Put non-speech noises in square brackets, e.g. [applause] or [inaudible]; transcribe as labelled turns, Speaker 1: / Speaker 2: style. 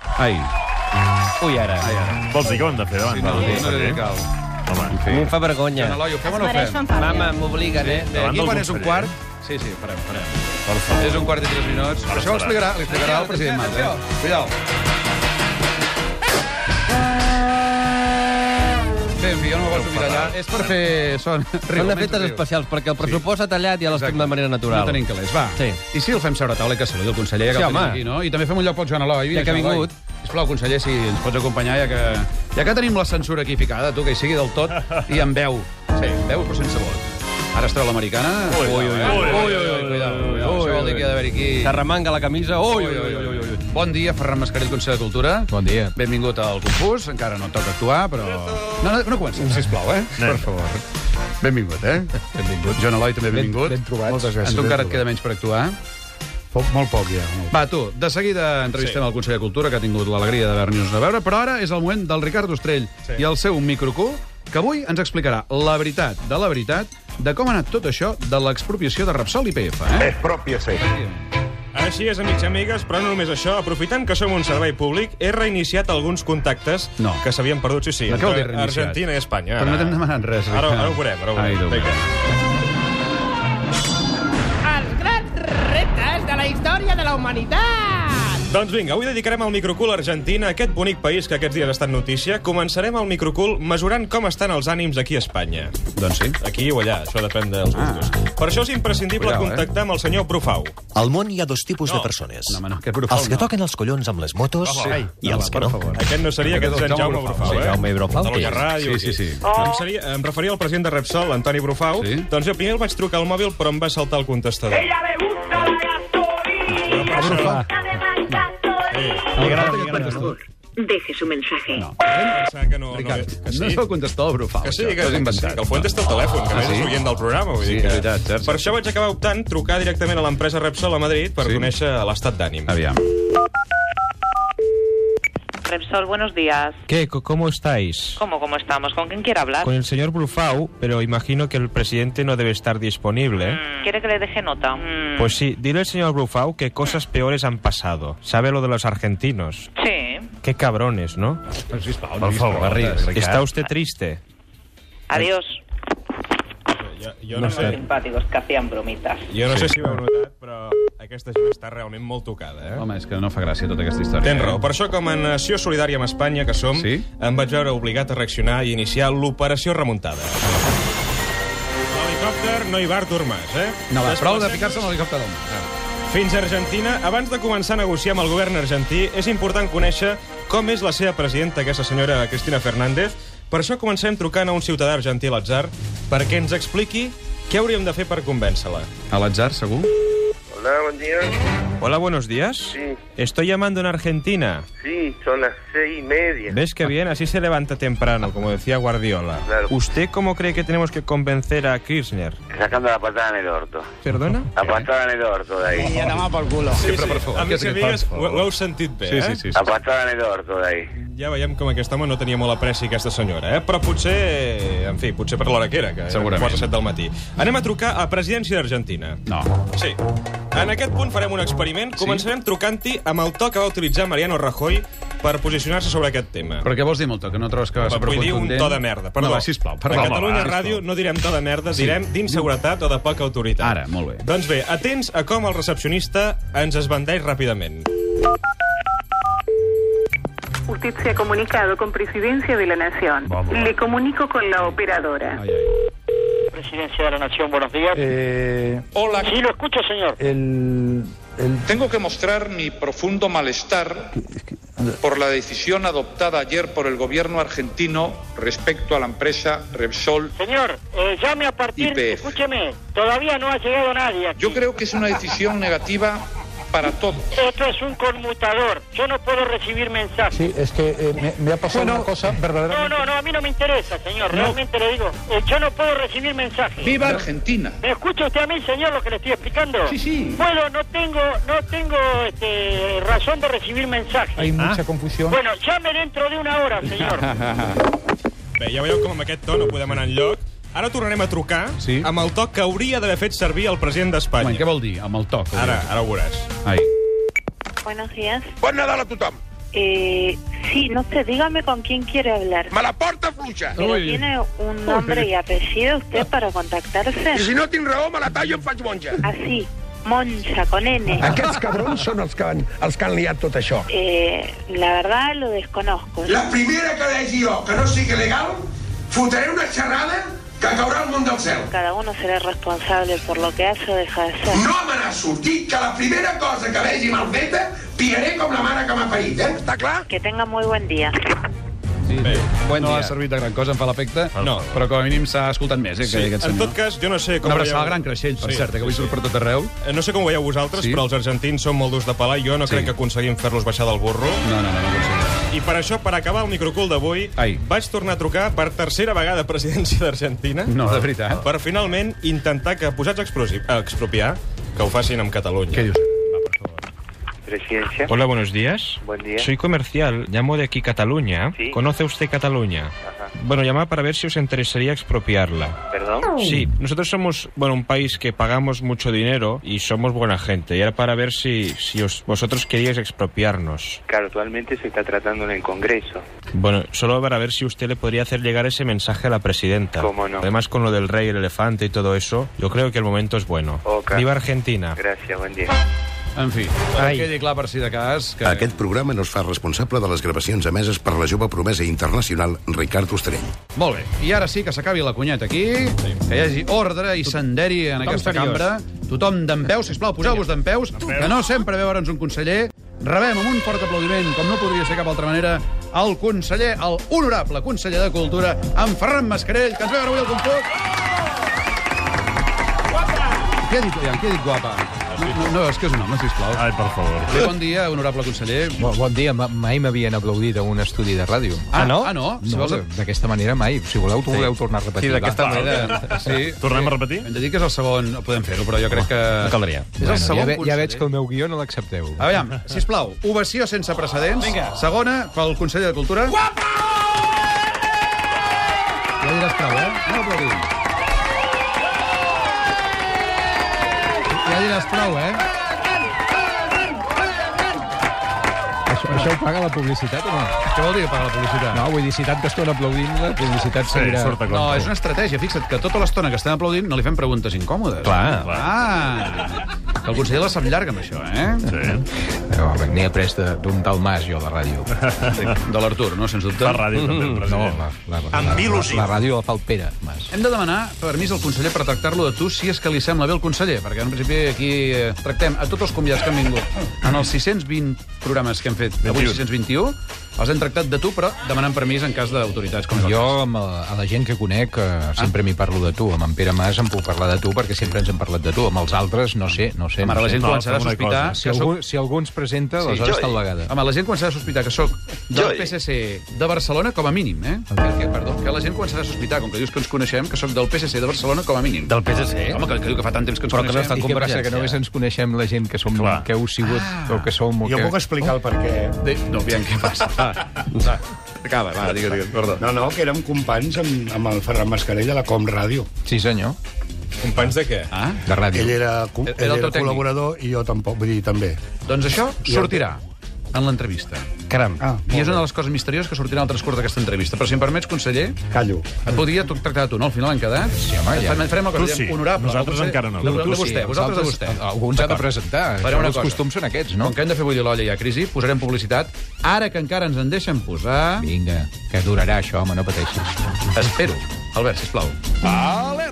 Speaker 1: Ai.
Speaker 2: Ui, ara.
Speaker 3: Vols dir que ho hem de fer davant?
Speaker 1: Sí, no,
Speaker 3: del
Speaker 1: no, no
Speaker 3: conseller?
Speaker 1: li cal.
Speaker 3: Home,
Speaker 2: A mi em fa vergonya.
Speaker 1: Eloi, ho fem o no ho
Speaker 4: mereix
Speaker 1: fem?
Speaker 4: fanfàrria.
Speaker 2: Mama, m'obliguen, eh?
Speaker 1: Bé, aquí
Speaker 3: del
Speaker 1: quan és un
Speaker 3: conseller.
Speaker 1: quart... Sí, sí, parem, parem.
Speaker 3: per favor.
Speaker 1: És un quart i tres minuts. Però això ho explicarà, li explicarà el president Mas. Eh? Cuidao. Bé, en fi, jo no me poso mirar allà. És per fer son.
Speaker 2: Són
Speaker 1: riu,
Speaker 2: de fetes
Speaker 1: riu.
Speaker 2: especials, perquè el pressupost s'ha tallat i ja les fem de manera natural.
Speaker 1: No tenim calés, va.
Speaker 2: Sí.
Speaker 1: I si el fem seure a taula i que saludi el conseller, que
Speaker 2: Sí,
Speaker 1: el tenim
Speaker 2: home.
Speaker 1: aquí, no? I també fem un lloc pel Joan Eloi. Vine,
Speaker 2: Ja que ha
Speaker 1: Joan Eloi.
Speaker 2: vingut.
Speaker 1: Sisplau, conseller, si ens pots acompanyar, ja que, ja que tenim la censura aquí ficada, tu, que hi sigui del tot, i en veu. Sí, en veu però sense vot. Ara es treu l'americana.
Speaker 3: Ui, ui, ui,
Speaker 1: Cuidao, cuidao. Això vol dir que hi ha d'haver aquí...
Speaker 2: S'arremanga la camisa. Ui,
Speaker 1: Ui, ui, ui, ui, ui. Bon dia, Ferran Mascarell, Consell de Cultura.
Speaker 5: Bon dia.
Speaker 1: Benvingut al Confús. Encara no et toca actuar, però... No, no, no comencem, sisplau, eh?
Speaker 3: Anem.
Speaker 1: Per favor. Benvingut, eh?
Speaker 5: Benvingut.
Speaker 1: Joan Eloi, també benvingut.
Speaker 5: ben trobat. Moltes gràcies,
Speaker 1: A tu encara
Speaker 5: ben
Speaker 1: et queda menys per actuar.
Speaker 5: Poc, molt poc, ja. Molt.
Speaker 1: Va, tu, de seguida entrevistem sí. el conseller de Cultura, que ha tingut l'alegria d'haver-nos de veure, però ara és el moment del Ricard Ostrell sí. i el seu microcú, que avui ens explicarà la veritat de la veritat de com ha anat tot això de l'expropiació de Repsol i PF, eh?
Speaker 6: Expropiese.
Speaker 7: Així és, amics i amigues, però no només això. Aprofitant que som un servei públic, he reiniciat alguns contactes
Speaker 1: No.
Speaker 7: que s'havien perdut, sí, sí,
Speaker 1: No, què vol dir
Speaker 7: entre
Speaker 1: reiniciat?
Speaker 7: Argentina i Espanya.
Speaker 1: Però no t'hem demanat res,
Speaker 7: Ara,
Speaker 1: Ricard.
Speaker 7: ara ho veurem, ara ho
Speaker 1: Ai, Déu
Speaker 7: veurem.
Speaker 1: meu.
Speaker 7: Vinga.
Speaker 4: Els grans reptes de la història de la humanitat!
Speaker 7: Doncs vinga, avui dedicarem el microcul a Argentina, aquest bonic país que aquests dies ha estat notícia. Començarem el microcul mesurant com estan els ànims aquí a Espanya.
Speaker 1: Doncs sí.
Speaker 7: Aquí o allà, això depèn dels gustos. Per això és imprescindible
Speaker 1: Ah. Cuidao, eh?
Speaker 7: contactar amb el senyor Profau.
Speaker 8: Al món hi ha dos tipus
Speaker 7: No.
Speaker 8: de persones.
Speaker 1: No, home, no, aquest grup
Speaker 8: els que
Speaker 1: no.
Speaker 8: toquen els collons amb les motos
Speaker 1: Ai,
Speaker 8: i els que
Speaker 1: per
Speaker 8: no.
Speaker 1: favor.
Speaker 7: Aquest no seria, aquest,
Speaker 1: Aquest
Speaker 7: és en
Speaker 1: és el
Speaker 7: Jaume,
Speaker 1: Jaume
Speaker 7: Brufau,
Speaker 1: Brufau,
Speaker 7: eh?
Speaker 1: sí,
Speaker 2: Jaume Brufau,
Speaker 7: Catalunya
Speaker 2: que és.
Speaker 7: Ràdio.
Speaker 1: Sí, sí, sí.
Speaker 7: Em, seria, em referia al president de Repsol, l'Antoni Brufau.
Speaker 1: Sí.
Speaker 7: Doncs jo primer el vaig trucar al mòbil, però em va saltar el contestador.
Speaker 9: Ella me gusta la gasolina.
Speaker 7: Però per això-
Speaker 9: Además, gasolina.
Speaker 1: El gran aquest contestador.
Speaker 9: Deje su mensaje.
Speaker 1: No.
Speaker 7: pensar que no, no,
Speaker 1: Ricard,
Speaker 7: que
Speaker 1: no és
Speaker 7: sí.
Speaker 1: el contestador Brufau,
Speaker 7: Que sí,
Speaker 1: això.
Speaker 7: que,
Speaker 1: T'ho has
Speaker 7: que, sí,
Speaker 1: inventat.
Speaker 7: que el Fuentes té el telèfon, que a més
Speaker 1: sí?
Speaker 7: és oient del programa. Vull
Speaker 1: Sí,
Speaker 7: dir que...
Speaker 1: és veritat, cert,
Speaker 7: Per
Speaker 1: cert.
Speaker 7: això vaig acabar optant trucar directament a l'empresa Repsol a Madrid per
Speaker 1: Sí.
Speaker 7: conèixer l'estat d'ànim.
Speaker 1: Aviam.
Speaker 10: Repsol, buenos días.
Speaker 11: ¿Qué? Co- ¿Cómo estáis?
Speaker 10: ¿Cómo, cómo estamos? ¿Con quién quiere hablar?
Speaker 11: Con el señor Brufau, pero imagino que el presidente no debe estar disponible. ¿eh?
Speaker 10: Mm, ¿Quiere que le deje nota? Mm,
Speaker 11: Pues sí, dile al señor Brufau que cosas peores han pasado. ¿Sabe lo de los argentinos?
Speaker 10: Sí.
Speaker 11: Qué cabrones, ¿no?
Speaker 1: Sisplau,
Speaker 3: Per favor, Ricard.
Speaker 11: ¿Está usted triste?
Speaker 10: Adiós.
Speaker 7: Jo, jo, Pues, no sé,
Speaker 10: Simpáticos que hacían bromitas.
Speaker 7: jo no sé si ho heu notat, però aquesta gent està realment molt tocada, eh?
Speaker 1: Home, és que no fa gràcia tota aquesta història.
Speaker 7: Tens raó. Per això, com a nació solidària amb Espanya que som,
Speaker 1: Sí?
Speaker 7: em vaig veure obligat a reaccionar i iniciar l'operació remuntada. L'helicòpter no hi va Artur Mas, eh?
Speaker 1: No, va, prou de
Speaker 7: Desplacem-nos
Speaker 1: picar-se en l'helicòpter d'home.
Speaker 7: Fins a Argentina, abans de començar a negociar amb el govern argentí, és important conèixer com és la seva presidenta, aquesta senyora Cristina Fernández. Per això comencem trucant a un ciutadà argentí a l'atzar perquè ens expliqui què hauríem de fer per convèncer-la.
Speaker 1: A l'atzar, segur?
Speaker 6: Hola, buen día.
Speaker 11: Hola, buenos días.
Speaker 6: Sí.
Speaker 11: Estoy llamando en Argentina.
Speaker 6: Sí, son las seis y media.
Speaker 11: ¿Ves qué bien? Así se levanta temprano, como decía Guardiola.
Speaker 6: Claro.
Speaker 11: ¿Usted cómo cree que tenemos que convencer a Kirchner?
Speaker 6: Sacando la patada en el orto.
Speaker 11: ¿Perdona?
Speaker 6: La patada en el orto de ahí.
Speaker 1: Sempre, per favor.
Speaker 7: Amics i
Speaker 1: Què és
Speaker 7: amigues,
Speaker 1: aquest
Speaker 7: ho, ho heu sentit bé,
Speaker 1: Sí,
Speaker 7: eh?
Speaker 1: sí, sí.
Speaker 6: La patada en el orto de ahí.
Speaker 7: Ja veiem com aquest home no tenia molt apreci aquesta senyora, eh? Però potser... En fi, potser per l'hora que era, que
Speaker 1: Segurament.
Speaker 7: era 4 a 7 del matí. Anem a trucar a presidència d'Argentina.
Speaker 1: No.
Speaker 7: Sí. En aquest punt farem un experiment. Començarem trucant-hi amb el to que va utilitzar Mariano Rajoy per posicionar-se sobre aquest tema.
Speaker 1: Però què vols dir, Molto? Que no trobes que vas
Speaker 7: Vull dir un
Speaker 1: supercontundent?
Speaker 7: to de merda, perdó.
Speaker 1: No, va, sisplau, perdó.
Speaker 7: a
Speaker 1: home,
Speaker 7: Catalunya
Speaker 1: va,
Speaker 7: Ràdio
Speaker 1: sisplau.
Speaker 7: no direm to de merda, direm d'inseguretat o de poca autoritat.
Speaker 1: Ara, molt bé.
Speaker 7: Doncs bé, atents a com el recepcionista ens esbandeix ràpidament.
Speaker 9: Usted se ha comunicado con Presidencia de la Nación.
Speaker 1: Vamos. Le
Speaker 9: comunico con la operadora.
Speaker 1: Ai, ai.
Speaker 10: Presidencia de la Nación, buenos días.
Speaker 5: Eh,
Speaker 12: Hola, Eh.
Speaker 10: Sí, lo escucho, señor.
Speaker 5: el, el...
Speaker 12: tengo que mostrar mi profundo malestar por la decisión adoptada ayer por el gobierno argentino respecto a la empresa Repsol.
Speaker 10: Señor, eh, llame a partir...
Speaker 12: YPF.
Speaker 10: Escúcheme, todavía no ha llegado nadie aquí.
Speaker 12: Yo creo que es una decisión negativa para todos.
Speaker 10: Esto es un conmutador. Yo no puedo recibir mensajes.
Speaker 5: Sí, es que eh, me, me ha pasado una cosa
Speaker 10: No,
Speaker 5: verdaderamente...
Speaker 10: no, no, a mí no me interesa, señor. Realmente le digo, eh, yo no puedo recibir mensajes.
Speaker 12: ¡Viva Argentina!
Speaker 10: ¿Me escucha usted a mí, señor, lo que le estoy explicando?
Speaker 12: Sí, sí.
Speaker 10: Bueno, no tengo, no tengo este, razón de recibir mensajes.
Speaker 5: Hay mucha confusión.
Speaker 10: Bueno, llame dentro de una hora, señor.
Speaker 7: Bé, ja veieu com amb aquest to no podem anar enlloc. Ara tornarem a trucar
Speaker 1: Sí.
Speaker 7: amb el to que hauria d'haver fet servir el president
Speaker 1: Home,
Speaker 7: d'Espanya.
Speaker 1: què vol dir, amb el to? que ho
Speaker 7: Ara,
Speaker 1: diu?
Speaker 7: ara ho veuràs.
Speaker 1: Ai.
Speaker 9: Buenos días.
Speaker 6: Bon Nadal a tothom.
Speaker 9: Eh, sí, no sé, dígame con quién quiere hablar.
Speaker 13: Malaporta Flucha.
Speaker 9: Pero tiene un nombre y apellido usted para contactarse.
Speaker 13: I si no tinc raó, me la tallo i em faig monja.
Speaker 9: Así, Moncha, con N.
Speaker 13: Aquests cabrons són els que, han, els que han liat tot això.
Speaker 9: Eh, la verdad lo desconozco.
Speaker 13: La primera que vegi jo que no sigui legal, fotré una xerrada que caurà al món del cel.
Speaker 9: Cada uno será responsable por lo que hace o deja de hacer.
Speaker 13: No me n'ha sortit que la primera cosa que vegi mal feta, piaré com la mare que m'ha parit, eh? Està clar?
Speaker 9: Que tenga muy buen día.
Speaker 1: Sí, Bé,
Speaker 2: bon
Speaker 1: no
Speaker 2: dia.
Speaker 1: ha servit de gran cosa, em fa l'efecte,
Speaker 7: No.
Speaker 1: però com a mínim s'ha escoltat més, eh, que
Speaker 7: Sí,
Speaker 1: aquest
Speaker 7: en
Speaker 1: senyor.
Speaker 7: tot cas, jo no sé com...
Speaker 1: Una abraçada al gran creixell, per cert, eh, que avui surt per tot arreu.
Speaker 7: Eh, No sé com ho veieu vosaltres,
Speaker 1: Sí.
Speaker 7: sí. però els argentins són molt durs de pelar. Jo no sí. crec que aconseguim fer-los baixar del burro.
Speaker 1: No, no, no, no aconseguim.
Speaker 7: I per això, per acabar el microcul d'avui,
Speaker 1: Ai.
Speaker 7: vaig tornar a trucar per tercera vegada a presidència d'Argentina.
Speaker 1: No, de veritat.
Speaker 7: Per finalment intentar que, posats a explosi- a expropiar, que ho facin amb Catalunya. Què
Speaker 1: dius?
Speaker 6: Presidencia.
Speaker 11: Hola, buenos días.
Speaker 6: Buen día.
Speaker 11: Soy comercial, llamo de aquí Cataluña.
Speaker 6: Sí.
Speaker 11: ¿Conoce usted Cataluña?
Speaker 6: Ajá.
Speaker 11: Bueno, llamaba para ver si os interesaría expropiarla.
Speaker 6: Perdón.
Speaker 11: Sí, nosotros somos, bueno, un país que pagamos mucho dinero y somos buena gente. Y era para ver si, si os- vosotros queríais expropiarnos.
Speaker 6: Claro, actualmente se está tratando en el Congreso.
Speaker 11: Bueno, solo para ver si usted le podría hacer llegar ese mensaje a la presidenta.
Speaker 6: Cómo no.
Speaker 11: Además, con lo del rey, el elefante y todo eso, yo creo que el momento es bueno.
Speaker 6: Ok.
Speaker 11: Viva Argentina.
Speaker 6: Gracias, buen día.
Speaker 1: En fi,
Speaker 11: Ai.
Speaker 1: que quedi clar per si de cas que...
Speaker 14: Aquest programa no es fa responsable de les gravacions emeses per la jove promesa internacional Ricard Ostrell.
Speaker 1: Molt bé, i ara sí que s'acabi la cunyeta aquí, que hi hagi ordre i senderi en
Speaker 14: tothom
Speaker 1: aquesta
Speaker 14: seriós.
Speaker 1: cambra. Tothom d'en peus, sisplau, poseu-vos d'en peus, que no sempre ve veure'ns un conseller. Rebem amb un fort aplaudiment, com no podria ser cap altra manera, el conseller, el honorable conseller de Cultura, en Ferran Mascarell, que ens ve a veure avui al Confut. Què ha dit, Ian? Què ha dit guapa? No, no, no, és que és un home, sisplau. Ai, per favor. Bé, bon dia, honorable conseller.
Speaker 15: Bon, bon dia, Ma- mai m'havien aplaudit a un estudi de ràdio.
Speaker 1: Ah, no? Ah, no? Si
Speaker 15: no
Speaker 1: vols-
Speaker 15: D'aquesta manera mai. Si voleu, t'ho voleu tornar a repetir. Va.
Speaker 1: Sí. Tornem a repetir? Hem de dir que és el segon... Podem fer-ho, però jo crec que... No
Speaker 11: caldria.
Speaker 1: És el segon eh? Ah.
Speaker 15: ja, ve, ja
Speaker 1: conseller.
Speaker 15: veig que el meu guió no l'accepteu.
Speaker 1: A veure, sisplau, ovació sense precedents. Vinga. Segona, pel Consell de Cultura. Guapa! Ja diràs prou, eh? No aplaudim.
Speaker 15: Ja diràs prou, eh? Això, això ho paga la publicitat o no?
Speaker 1: Què vol dir que paga la publicitat?
Speaker 15: No, vull dir, si tanta estona aplaudint, la publicitat seguirà...
Speaker 1: No, és una estratègia. Fixa't que tota l'estona que estem aplaudint no li fem preguntes incòmodes.
Speaker 15: Clar,
Speaker 1: clar. Que el conseller la sap llarga amb això, eh? Sí.
Speaker 15: No, Eh, N'he après de- d'un tal Mas, jo, la ràdio.
Speaker 1: De l'Artur, no, sens dubte.
Speaker 15: La ràdio, també, el
Speaker 1: No,
Speaker 15: president.
Speaker 1: la,
Speaker 15: la, la, la, la ràdio la fa el Pere, Mas.
Speaker 1: Hem de demanar permís al conseller per tractar-lo de tu si és que li sembla bé el conseller, perquè en principi aquí eh, tractem a tots els convidats que han vingut en els 620 programes que hem fet, avui
Speaker 15: 21.
Speaker 1: 621, els hem tractat de tu, però demanant permís en cas d'autoritats. Com
Speaker 15: Jo, amb la, a la gent que conec, eh, sempre m'hi parlo de tu. Amb en Pere Mas em puc parlar de tu, perquè sempre ens hem parlat de tu. Amb els altres, no sé, no sé.
Speaker 1: Home, ara
Speaker 15: no
Speaker 1: la
Speaker 15: sé.
Speaker 1: gent començarà a sospitar que
Speaker 15: Si, algú, si algú ens presenta, sí, aleshores tal vegada.
Speaker 1: Home, la gent començarà a sospitar que sóc del PSC de Barcelona com a mínim, eh? Que, que, perdó, que la gent començarà a sospitar, com que dius que ens coneixem, que sóc del PSC de Barcelona com a mínim. Del PSC? Home, que, que diu que fa tant temps que ens coneixem.
Speaker 15: I què passa, que només ens coneixem la gent que, som, que heu sigut o que som... O
Speaker 1: Jo
Speaker 15: que... Oh.
Speaker 1: puc
Speaker 15: explicar el per què.
Speaker 1: Oh. De... No, aviam, què
Speaker 15: [laughs]
Speaker 1: passa? Va, acaba, va, digues, digues, perdó.
Speaker 16: No, no, que érem companys amb, amb el Ferran Mascarell de la Com Ràdio.
Speaker 15: Sí, senyor.
Speaker 7: Companys de què?
Speaker 1: Ah?
Speaker 15: De ràdio.
Speaker 16: Ell era, co-
Speaker 1: Era
Speaker 16: ell
Speaker 1: el teu
Speaker 16: era
Speaker 1: tècnic.
Speaker 16: col·laborador i jo tampoc, vull dir, també.
Speaker 1: Doncs això
Speaker 16: Jo-
Speaker 1: sortirà en l'entrevista.
Speaker 15: Caram.
Speaker 1: Ah, I és una de les coses misterioses que sortirà al transcurs d'aquesta entrevista. Però si em permets, conseller...
Speaker 16: Callo.
Speaker 1: Et podria to- tractar a tu, no? Al final hem quedat. Sí,
Speaker 15: home, ja.
Speaker 1: Farem la cosa,
Speaker 15: Tu
Speaker 1: diem,
Speaker 15: sí.
Speaker 1: honorable.
Speaker 15: Nosaltres
Speaker 1: Potser-
Speaker 15: encara no.
Speaker 1: De, de,
Speaker 15: Tu
Speaker 1: de
Speaker 15: sí,
Speaker 1: vostè,
Speaker 15: els
Speaker 1: vosaltres de
Speaker 15: altres-
Speaker 1: vostè.
Speaker 15: algú ens ha de
Speaker 1: D'acord.
Speaker 15: presentar.
Speaker 1: Farem
Speaker 15: Això,
Speaker 1: una
Speaker 15: els
Speaker 1: cosa.
Speaker 15: costums són aquests, no?
Speaker 1: Com que hem de fer avui l'olla i a crisi, posarem publicitat. Ara que encara ens en deixen posar...
Speaker 15: Vinga, que durarà això, home, no pateixis.
Speaker 1: Espero. Albert, sisplau.
Speaker 15: Vale!